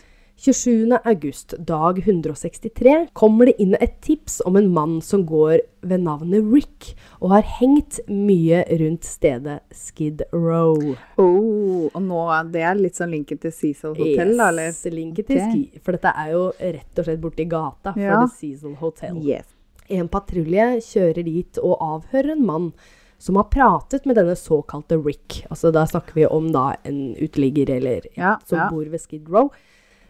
27. august, dag 163, kommer det inn et tips om en mann som går ved navnet Rick, og har hengt mye rundt stedet Skid Row.
Oh, og nå, det er litt sånn linken til Cecil Hotel, da, eller?
Yes, linket til
Ok.
ski, for dette er jo rett og slett borti gata for
Ja.
The Cecil Hotel.
Yes.
En patrulje kjører dit og avhører en mann som har pratet med denne såkalte Rick. Altså da snakker vi om da en uteligger eller
Ja,
som
ja.
bor ved Skid Row.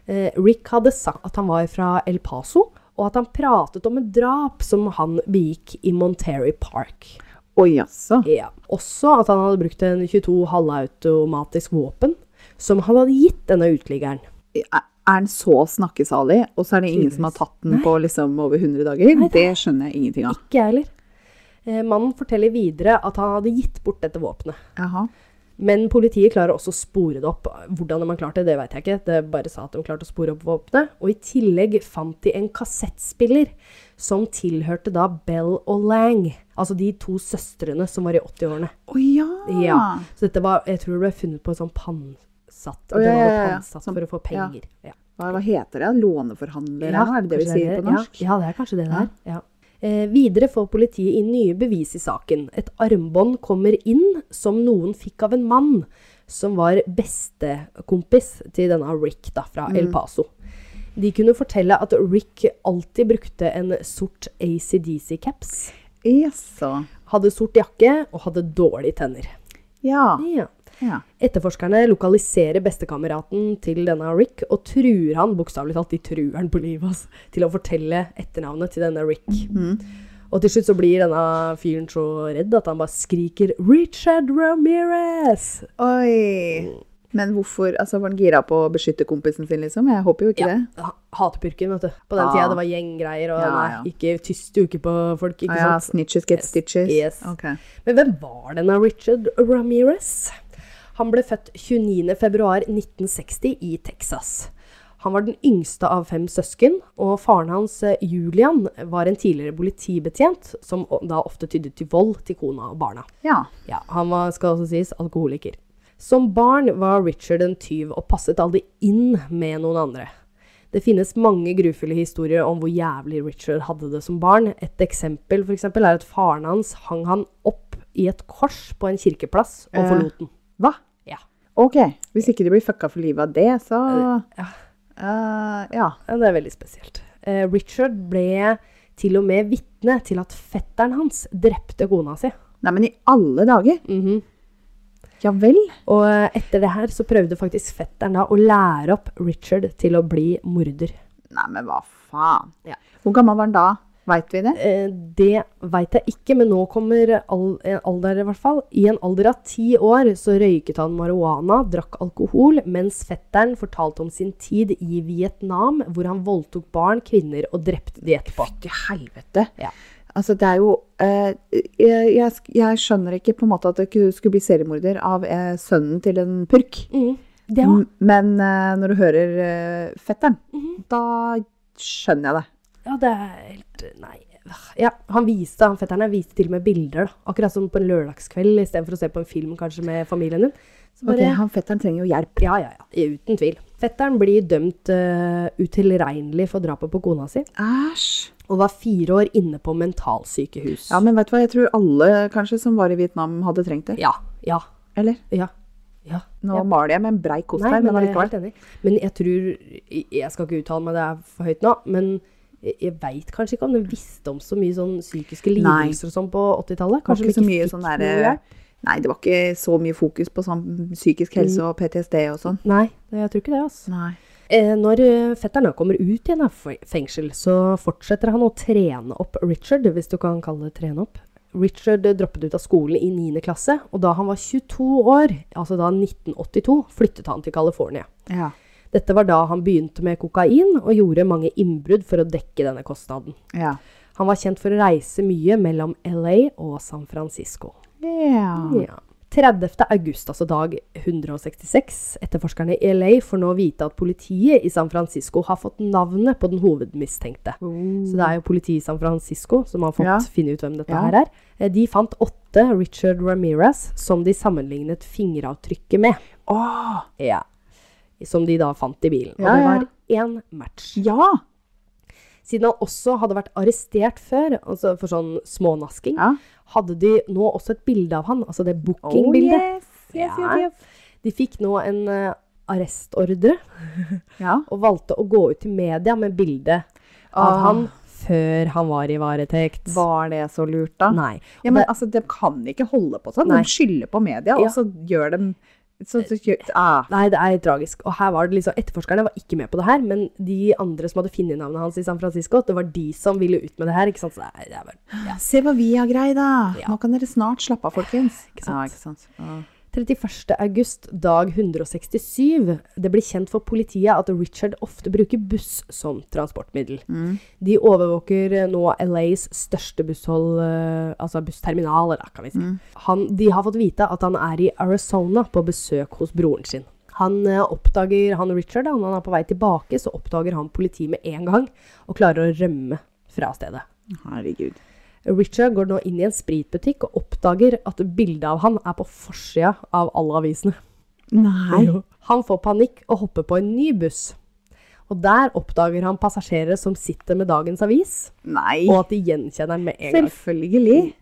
Eh, Rick hadde sagt at han var fra El Paso, og at han pratet om et drap som han begikk i Monterey Park.
Å jaså.
Ja. Også at han hadde brukt en 22 halvautomatisk våpen som han hadde gitt denne uteliggeren.
Er er den så snakkesalig, og så er det ingen som har tatt den på liksom over 100 dager? Det skjønner jeg ingenting av.
Ikke jeg heller. Eh, mannen forteller videre at han hadde gitt bort dette våpenet.
Jaha.
Men politiet klarer også å spore det opp. Hvordan de har klart det, det vet jeg ikke. Det bare sa at de klarte å spore opp våpenet. Og i tillegg fant de en kassettspiller som tilhørte da Bell og Lang. Altså de to søstrene som var i 80-årene.
Å ja.
Ja. Så dette var Jeg tror det ble funnet på en sånn pannsatt.
Å, ja,
Den var
ja, ja, ja.
pannsatt
Sånn-
for å få
ja.
penger. Ja.
Hva, hva heter det? Låneforhandler? er det det vi
kanskje
sier
det.
på norsk?
Ja, ja, det er kanskje det det er. Ja. Eh, videre får politiet inn nye bevis i saken. Et armbånd kommer inn som noen fikk av en mann som var bestekompis til denne Rick da, fra
Mm.
El Paso. De kunne fortelle at Rick alltid brukte en sort ACDC-caps,
Jaså.
hadde sort jakke og hadde dårlige tenner.
Ja.
Ja.
ja.
Etterforskerne lokaliserer bestekameraten til denne Rick og truer han, bokstavelig talt, de truer han på livet hans, til å fortelle etternavnet til denne Rick.
Mhm.
Og til slutt så blir denne fyren så redd at han bare skriker 'Richard Ramirez'!
Oi. Men hvorfor altså, var han gira på å beskytte kompisen sin, liksom? Jeg håper jo ikke det.
Ha- Hatepurken, vet du. På den
Ah.
tida det var gjenggreier, og
Ja, ja.
nei, ikke tyst uke på folk, ikke sånn
Ah, ja,
sant.
snitches get stitches.
Yes.
Ok.
Men hvem var denne Richard Ramirez? Han ble født 29.2.1960 i Texas. Han var den yngste av fem søsken, og faren hans, eh, Julian, var en tidligere politibetjent, som o- da ofte tydet til vold til kona og barna.
Ja.
Ja, han var, skal også sies, alkoholiker. Som barn var Richard en tyv og passet aldri inn med noen andre. Det finnes mange grufulle historier om hvor jævlig Richard hadde det som barn. Et eksempel for eksempel, er at faren hans hang han opp i et kors på en kirkeplass og
Eh.
forlot den.
Hva?
Ja.
Ok. Hvis ikke de blir fucka for livet av det, så
Ja.
Eh, Ja.
Ja, Det er veldig spesielt. Eh, Richard ble til og med vitne til at fetteren hans drepte kona si.
Nei, men i alle dager!
Mhm.
Ja vel?
Og eh, etter det her så prøvde faktisk fetteren da å lære opp Richard til å bli morder.
Nei, men hva faen?
Ja.
Hvor gammel var han da? Veit vi det?
Eh, det veit jeg ikke, men nå kommer al eh, alder, i hvert fall. I en alder av ti år så røyket han marihuana, drakk alkohol, mens fetteren fortalte om sin tid i Vietnam, hvor han voldtok barn, kvinner og drepte de etterpå.
Til helvete!
Ja.
Altså, det er jo eh, jeg, jeg sk- jeg skjønner ikke på en måte at du ikke skulle bli seriemorder av eh, sønnen til en purk.
Mm. Det var,
M- Men eh, når du hører eh, fetteren, da skjønner jeg det.
ja, det er helt Nei. Ja, han viste, han fetteren her viste til og med bilder, da. akkurat som på en lørdagskveld istedenfor å se på en film kanskje med familien din. Så
Ok,
bare-
han Fetteren trenger jo hjelp.
Ja, ja, ja. Uten tvil. Fetteren blir dømt eh, utilregnelig for drapet på kona si.
Æsj!
og var fire år inne på mentalsykehus.
Ja, men vet du hva, jeg tror alle kanskje som var i Vietnam hadde trengt det.
ja, ja,
Eller?
ja. ja.
Nå maler jeg med en brei kost
Nei,
her, men eh,
men jeg er
allikevel.
helt enig. Men jeg tror Jeg skal ikke uttale meg, det er for høyt nå. Men jeg- jeg veit kanskje ikke om den visste om så mye sånn psykiske
Nei.
lidelser og sånn på 80-tallet.
Det var
Kanskje
ikke så
vi
mye
fikk
sånn
noe
derre
hjelp?
Nei, det var ikke så mye fokus på sånn psykisk helse og PTSD og sånn.
Nei, det- jeg tror ikke det. altså.
Nei.
Eh, når eh, fetteren da kommer ut igjen av fe- fengsel, så fortsetter han å trene opp Richard, hvis du kan kalle det trene opp. Richard eh, droppet ut av skolen i 9. klasse, og da han var 22 år, altså da 1982, flyttet han til California.
Ja.
Dette var da han begynte med kokain, og gjorde mange innbrudd for å dekke denne kostnaden.
Ja.
Han var kjent for å reise mye mellom LA og San Francisco.
ja.
Ja. 30. august, altså dag 166, etterforskerne i LA får nå vite at politiet i San Francisco har fått navnet på den hovedmistenkte. Så det er jo politiet i San Francisco som har fått
Oh. Ja.
finne ut hvem dette
Ja.
her er. Eh, De fant åtte Richard Ramirez som de sammenlignet fingeravtrykket med.
Åh,
Ja. Som de da fant i bilen. Og
Ja,
det
ja,
var én match.
ja.
Siden han også hadde vært arrestert før, altså for sånn smånasking,
Ja. Oh,
hadde de nå også et bilde av han, altså det booking-bildet.
yes,
Ja. De fikk nå en eh, arrestordre
Ja.
og valgte å gå ut til media med bilde av
Ah.
han før han var i varetekt.
Var det så lurt, da?
Nei.
Ja, men altså, De kan ikke holde på sånn.
Nei.
De skylder på media,
Ja.
og så gjør de så, så, gjør- ah.
Nei, det er tragisk. Og her var det liksom, Etterforskerne var ikke med på det her, men de andre som hadde funnet navnet hans i San Francisco, det var de som ville ut med det her. ikke sant? Så det er, det er bare...
Se hva vi har greid, da!
Ja.
Nå kan dere snart slappe av, folkens.
Ikke sant?
Ja, ikke sant? Ah.
31. august, dag 167. Det blir kjent for politiet at Richard ofte bruker buss som transportmiddel. De overvåker eh, nå LAs største busshold, eh, altså bussterminaler, da, kan vi si. Han, de har fått vite at han er i Arizona på besøk hos broren sin. Han eh, oppdager han Richard, da, når han er på vei tilbake, så oppdager han politiet med en gang og klarer å rømme fra stedet.
Herregud.
Richard går nå inn i en spritbutikk og oppdager at bildet av han er på forsida av alle avisene.
Nei.
Jo. Han får panikk og hopper på en ny buss. Og der oppdager han passasjerer som sitter med dagens avis,
Nei.
og at de gjenkjenner den med en gang.
Selvfølgelig.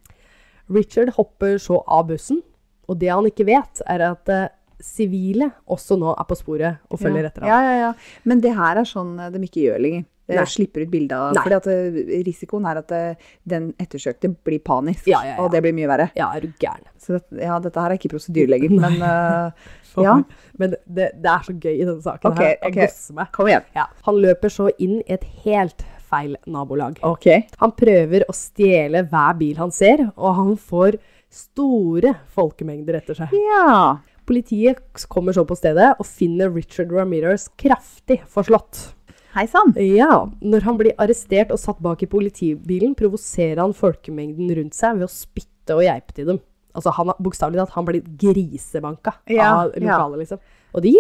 Richard hopper så av bussen, og det han ikke vet, er at eh, sivile også nå er på sporet og følger
ja.
etter ham.
Ja, ja, ja. Men det her er sånn eh, de ikke gjør lenger. De
Nei.
slipper ut bilde av
Nei.
fordi at eh, risikoen er at eh, den ettersøkte blir panisk,
Ja, ja, ja.
og det blir mye verre.
Ja, er du gæren?
Så det, ja, dette her er ikke prosedyre lenger, men eh, ja.
Men det, det er så gøy i denne saken
Ok,
her. Jeg
ok.
gosser meg.
Kom igjen.
Ja. Han løper så inn i et helt feil nabolag.
Ok.
Han prøver å stjele hver bil han ser, og han får store folkemengder etter seg.
Ja.
Politiet kommer så på stedet og finner Richard Ramirez kraftig forslått.
Hei sann!
Ja, når han blir arrestert og satt bak i politibilen, provoserer han folkemengden rundt seg ved å spytte og geipe til dem. Altså, han har- bokstavelig talt, han blir grisebanka
Ja,
av
ja.
lokalet, liksom. Og de,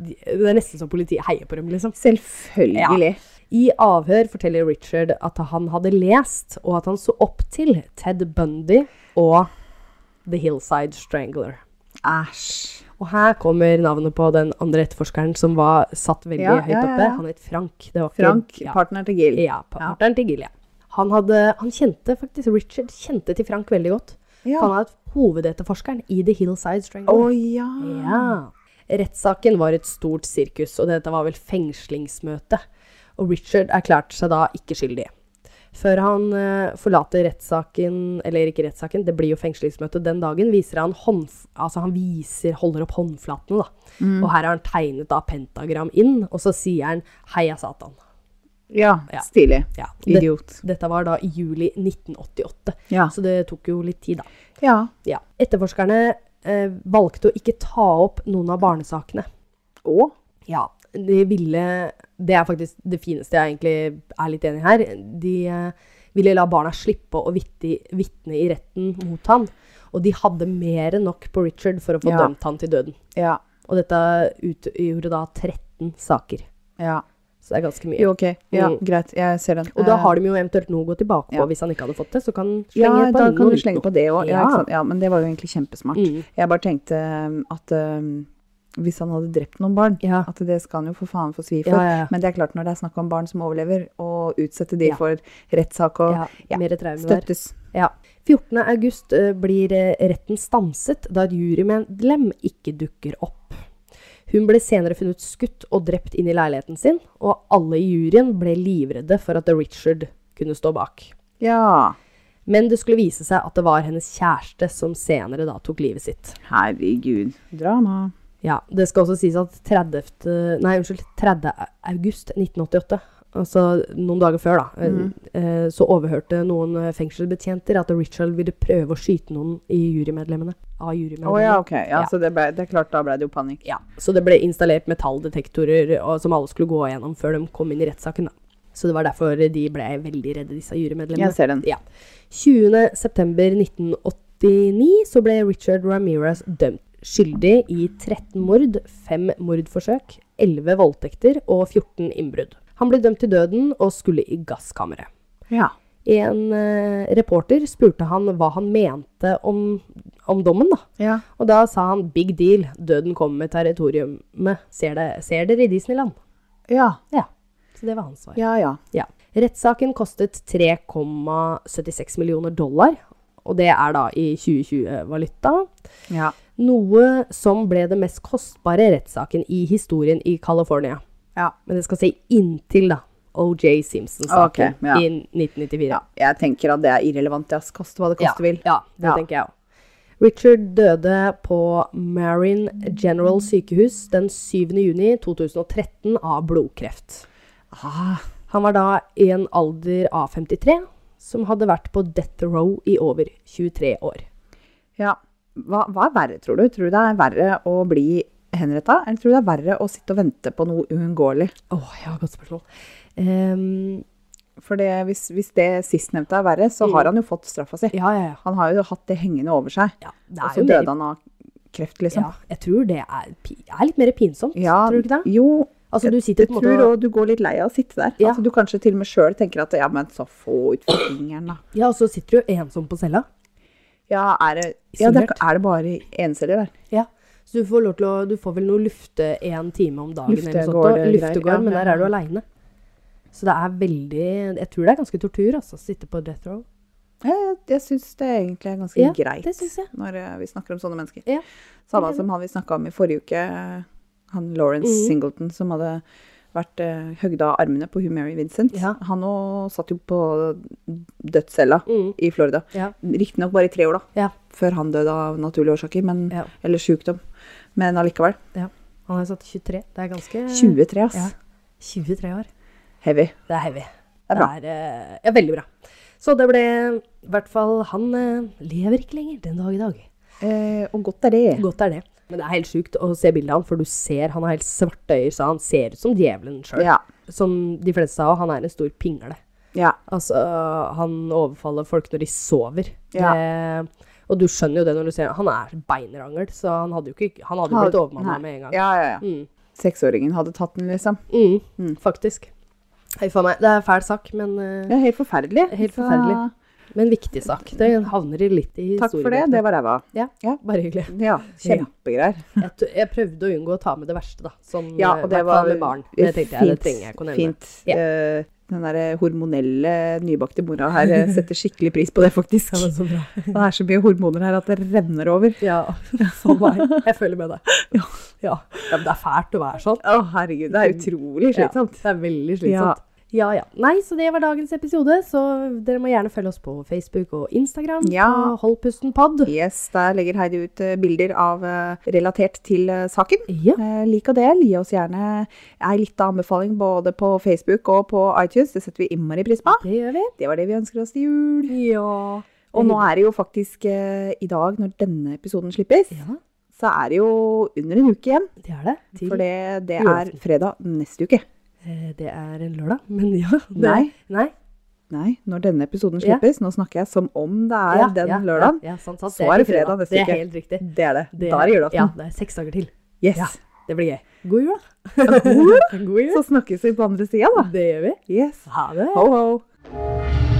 de, det er nesten som politiet heier på dem, liksom.
Selvfølgelig.
I avhør forteller Richard at han hadde lest, og at han så opp til Ted Bundy og The Hillside Strangler.
Æsj.
Og her kommer navnet på den andre etterforskeren som var satt veldig
Ja,
høyt
ja, ja,
oppe.
ja.
Han het Frank. Det var ikke-
Frank,
ja.
partner til Gil.
Ja, partneren til Gillian. Han, hadde, han kjente faktisk, Richard kjente til Frank veldig godt.
Ja.
Han er hovedetterforskeren i The Hillside
Å
Strangler.
ja.
Ja. Rettssaken var et stort sirkus, og dette var vel fengslingsmøte. Og Richard erklærte seg da ikke skyldig. Før han eh, forlater rettssaken, eller ikke rettssaken, det blir jo fengslingsmøte den dagen, viser han håndf... Altså, han viser, holder opp håndflatene, da.
Mm.
Og her har han tegnet da pentagram inn, og så sier han 'heia Satan'.
Ja,
Ja.
Stilig.
Ja.
Idiot.
Det, dette var da i juli 1988,
Ja.
så det tok jo litt tid, da.
Ja.
Ja. Etterforskerne eh, valgte å ikke ta opp noen av barnesakene.
Å?
Ja. De ville Det er faktisk det fineste jeg egentlig er litt enig i her. De eh, ville la barna slippe å vitti- vitne i retten mot han, og de hadde mer enn nok på Richard for å få
Ja.
dømt han til døden.
Ja.
Og dette utgjorde da 13 saker.
Ja.
Så det er ganske mye.
Jo, ok. Ja,
Mm.
greit. Jeg ser den.
Og da
Eh,
har de jo eventuelt noe å gå tilbake på
Ja.
hvis han ikke hadde fått det. Så kan han slenge
Eh, ja,
på
da
noe
kan du
nytt
slenge
noe.
på det òg. Ja.
Ja.
ikke sant? ja, men det var jo egentlig kjempesmart.
Mm.
Jeg bare tenkte um, at um, hvis han hadde drept noen barn,
Ja.
at det skal han jo for faen få svi for.
Ja, ja, ja.
Men det er klart når det er snakk om barn som overlever, å utsette de
Ja.
for rettssak og
Ja, mer traume der.
støttes.
Ja. 14. august eh, blir eh, retten stanset da et jurymedlem ikke dukker opp. Hun ble senere funnet skutt og drept inn i leiligheten sin, og alle i juryen ble livredde for at Richard kunne stå bak.
Ja.
Men det skulle vise seg at det var hennes kjæreste som senere da tok livet sitt.
Herregud. Drama.
Ja, det skal også sies at 30. Nei, unnskyld, 30. august 1988, altså noen dager før da,
Mhm.
eh, så overhørte noen eh, fengselsbetjenter at Richard ville prøve å skyte noen i jurymedlemmene. Av
Å
jurymedlemmene.
ja, ok. Ja,
Ja.
Så det, ble, det er klart, da ble det jo panikk.
Ja, så det ble installert metalldetektorer og, som alle skulle gå gjennom før de kom inn i rettssaken da. Så det var derfor de ble veldig redde, disse jurymedlemmene.
Jeg ser den.
Ja. 20. september 1989 så ble Richard Ramirez dømt skyldig i 13 mord, 5 mordforsøk, 11 voldtekter og 14 innbrudd. Han ble dømt til døden og skulle i gasskammeret.
Ja.
En eh, reporter spurte han hva han mente om, om dommen, da.
Ja.
Og da sa han 'big deal, døden kommer med territoriumet, ser, det, ser dere i Disneyland'.
Ja.
Ja, så det var hans svar.
Ja, ja.
Ja. Rettssaken kostet 3,76 millioner dollar, og det er da i 2020-valuta.
Ja.
Noe som ble det mest kostbare rettssaken i historien i California.
ja.
Men det skal si inntil, da. OJ Simpson-saken
Ok, ja.
i 1994.
Ja, jeg tenker at det er irrelevant. Ja. Koste hva det koste vil.
Ja, det
Ja.
tenker jeg òg. Richard døde på Marine General sykehus den 7. juni 2013 av blodkreft.
Ah,
Han var da i en alder av 53, som hadde vært på death row i over 23 år.
ja. Hva, hva er verre, tror du? Tror du det er verre å bli henretta, eller tror du det er verre å sitte og vente på noe uunngåelig?
Åh, ja, godt spørsmål. Ehm,
For det, hvis, hvis det sistnevnte er verre, så har han jo fått straffa si.
Mm. ja, ja, ja.
Han har jo hatt det hengende over seg.
ja det
Og
er
så
jo
døde
mer,
han av kreft, liksom.
ja, jeg tror det er, pi- er litt mer pinsomt, tror du ikke det?
Jo,
Altså, du sitter
jeg
på en måte
tror
og-
òg du går litt lei av å sitte der.
Ja.
Altså, du kanskje til og med sjøl tenker at ja, men så få ut fingeren, da.
Ja, og så sitter du ensom på cella.
Ja, er det, ja, det, er det bare enceller der?
Ja. Så du får, lov til å, du får vel noe lufte en time om dagen eller noe sånt.
Luftegård,
da. Luftegård,
greier, ja,
men der
ja.
er du aleine. Så det er veldig Jeg tror det er ganske tortur, altså, å sitte på death row.
Jeg, jeg syns det egentlig er ganske
Ja,
greit
det synes jeg.
når eh, vi snakker om sånne mennesker.
Ja.
Samme som han vi snakka om i forrige uke, eh, han Lawrence
Mhm.
Singleton, som hadde vært eh, høgd av armene på hun Mary Vincent.
Ja.
Han òg satt jo på dødscella
Mm.
i Florida.
Ja.
Riktignok bare i tre år, da.
Ja.
Før han døde av naturlige årsaker, men,
Ja.
eller sykdom. Men allikevel.
ja. Han er satt 23. Det er ganske
23, ass.
Mm. Ja. 23 år.
Heavy.
Det er heavy.
Det er bra.
Det er eh, ja, veldig bra. Så det ble I hvert fall Han eh, lever ikke lenger den dag i dag.
Eh, og godt er det.
Godt er det. Men det er helt sjukt å se bildet av han, for du ser han har helt svarte øyne, så han ser ut som djevelen sjøl.
Ja.
Som de fleste sa, han er en stor pingle.
ja.
Altså, han overfaller folk når de sover.
Ja.
Det, og du skjønner jo det når du ser Han er beinrangel, så han hadde jo ikke han hadde jo blitt overmanna
Nei.
med en gang.
Ja, ja, ja.
Mm.
Seksåringen hadde tatt den, liksom.
Mm.
Mm.
Faktisk. Hei, faen meg. Det er en fæl sak, men, eh,
Ja, helt forferdelig.
Helt
Så, eh,
forferdelig. men viktig sak. Det havner i litt i
Takk for det. Det var ræva.
Bare hyggelig.
Ja, kjempegreier.
Jeg, t- jeg prøvde å unngå å ta med det verste, da. Sånn,
Ja,
eh,
og det
hvertfall
var
med barn. Det tenkte jeg, det trenger jeg ikke å nevne.
Fint. Eh, Den der hormonelle nybakte mora her eh, setter skikkelig pris på det, faktisk.
Ja, men så bra.
Det er så mye hormoner her at det renner over.
Ja, for meg. Jeg føler med deg.
Ja.
Ja. ja, men det er fælt å være sånn.
Å, herregud. Det er utrolig slitsomt.
Ja, det er veldig slitsomt. Ja. ja, Nei, så det var dagens episode. Så dere må gjerne følge oss på Facebook og Instagram.
Ja.
På Hold pusten pod.
Yes, der legger Heidi ut eh, bilder av eh, relatert til eh, saken.
Ja.
Eh, Lik og del. Gi oss gjerne ei lita anbefaling både på Facebook og på iTunes. Det setter vi innmari pris på.
Det gjør vi.
Det var det vi ønsker oss til jul.
Ja.
Og nå er det jo faktisk eh, i dag, når denne episoden slippes,
Ja,
så er det jo under en uke igjen.
det er det. Til,
For det, det er
julaften.
fredag neste uke.
eh, det er en lørdag, men ja. Det,
Nei.
Nei.
Nei, når denne episoden
Ja.
slippes. Nå snakker jeg som om det er
Ja,
den
ja,
lørdagen.
Ja, ja, sant, sant.
Så er det
ikke
fredag neste
Det
uke.
er helt riktig.
Det er det.
Det
Da er det
Ja,
julaften.
det er seks dager til.
Yes.
Ja. Det blir gøy. God jul, da.
God
God jul.
Så snakkes vi på andre sida, da.
Det gjør vi.
Yes.
Ha det.
Ho, ho.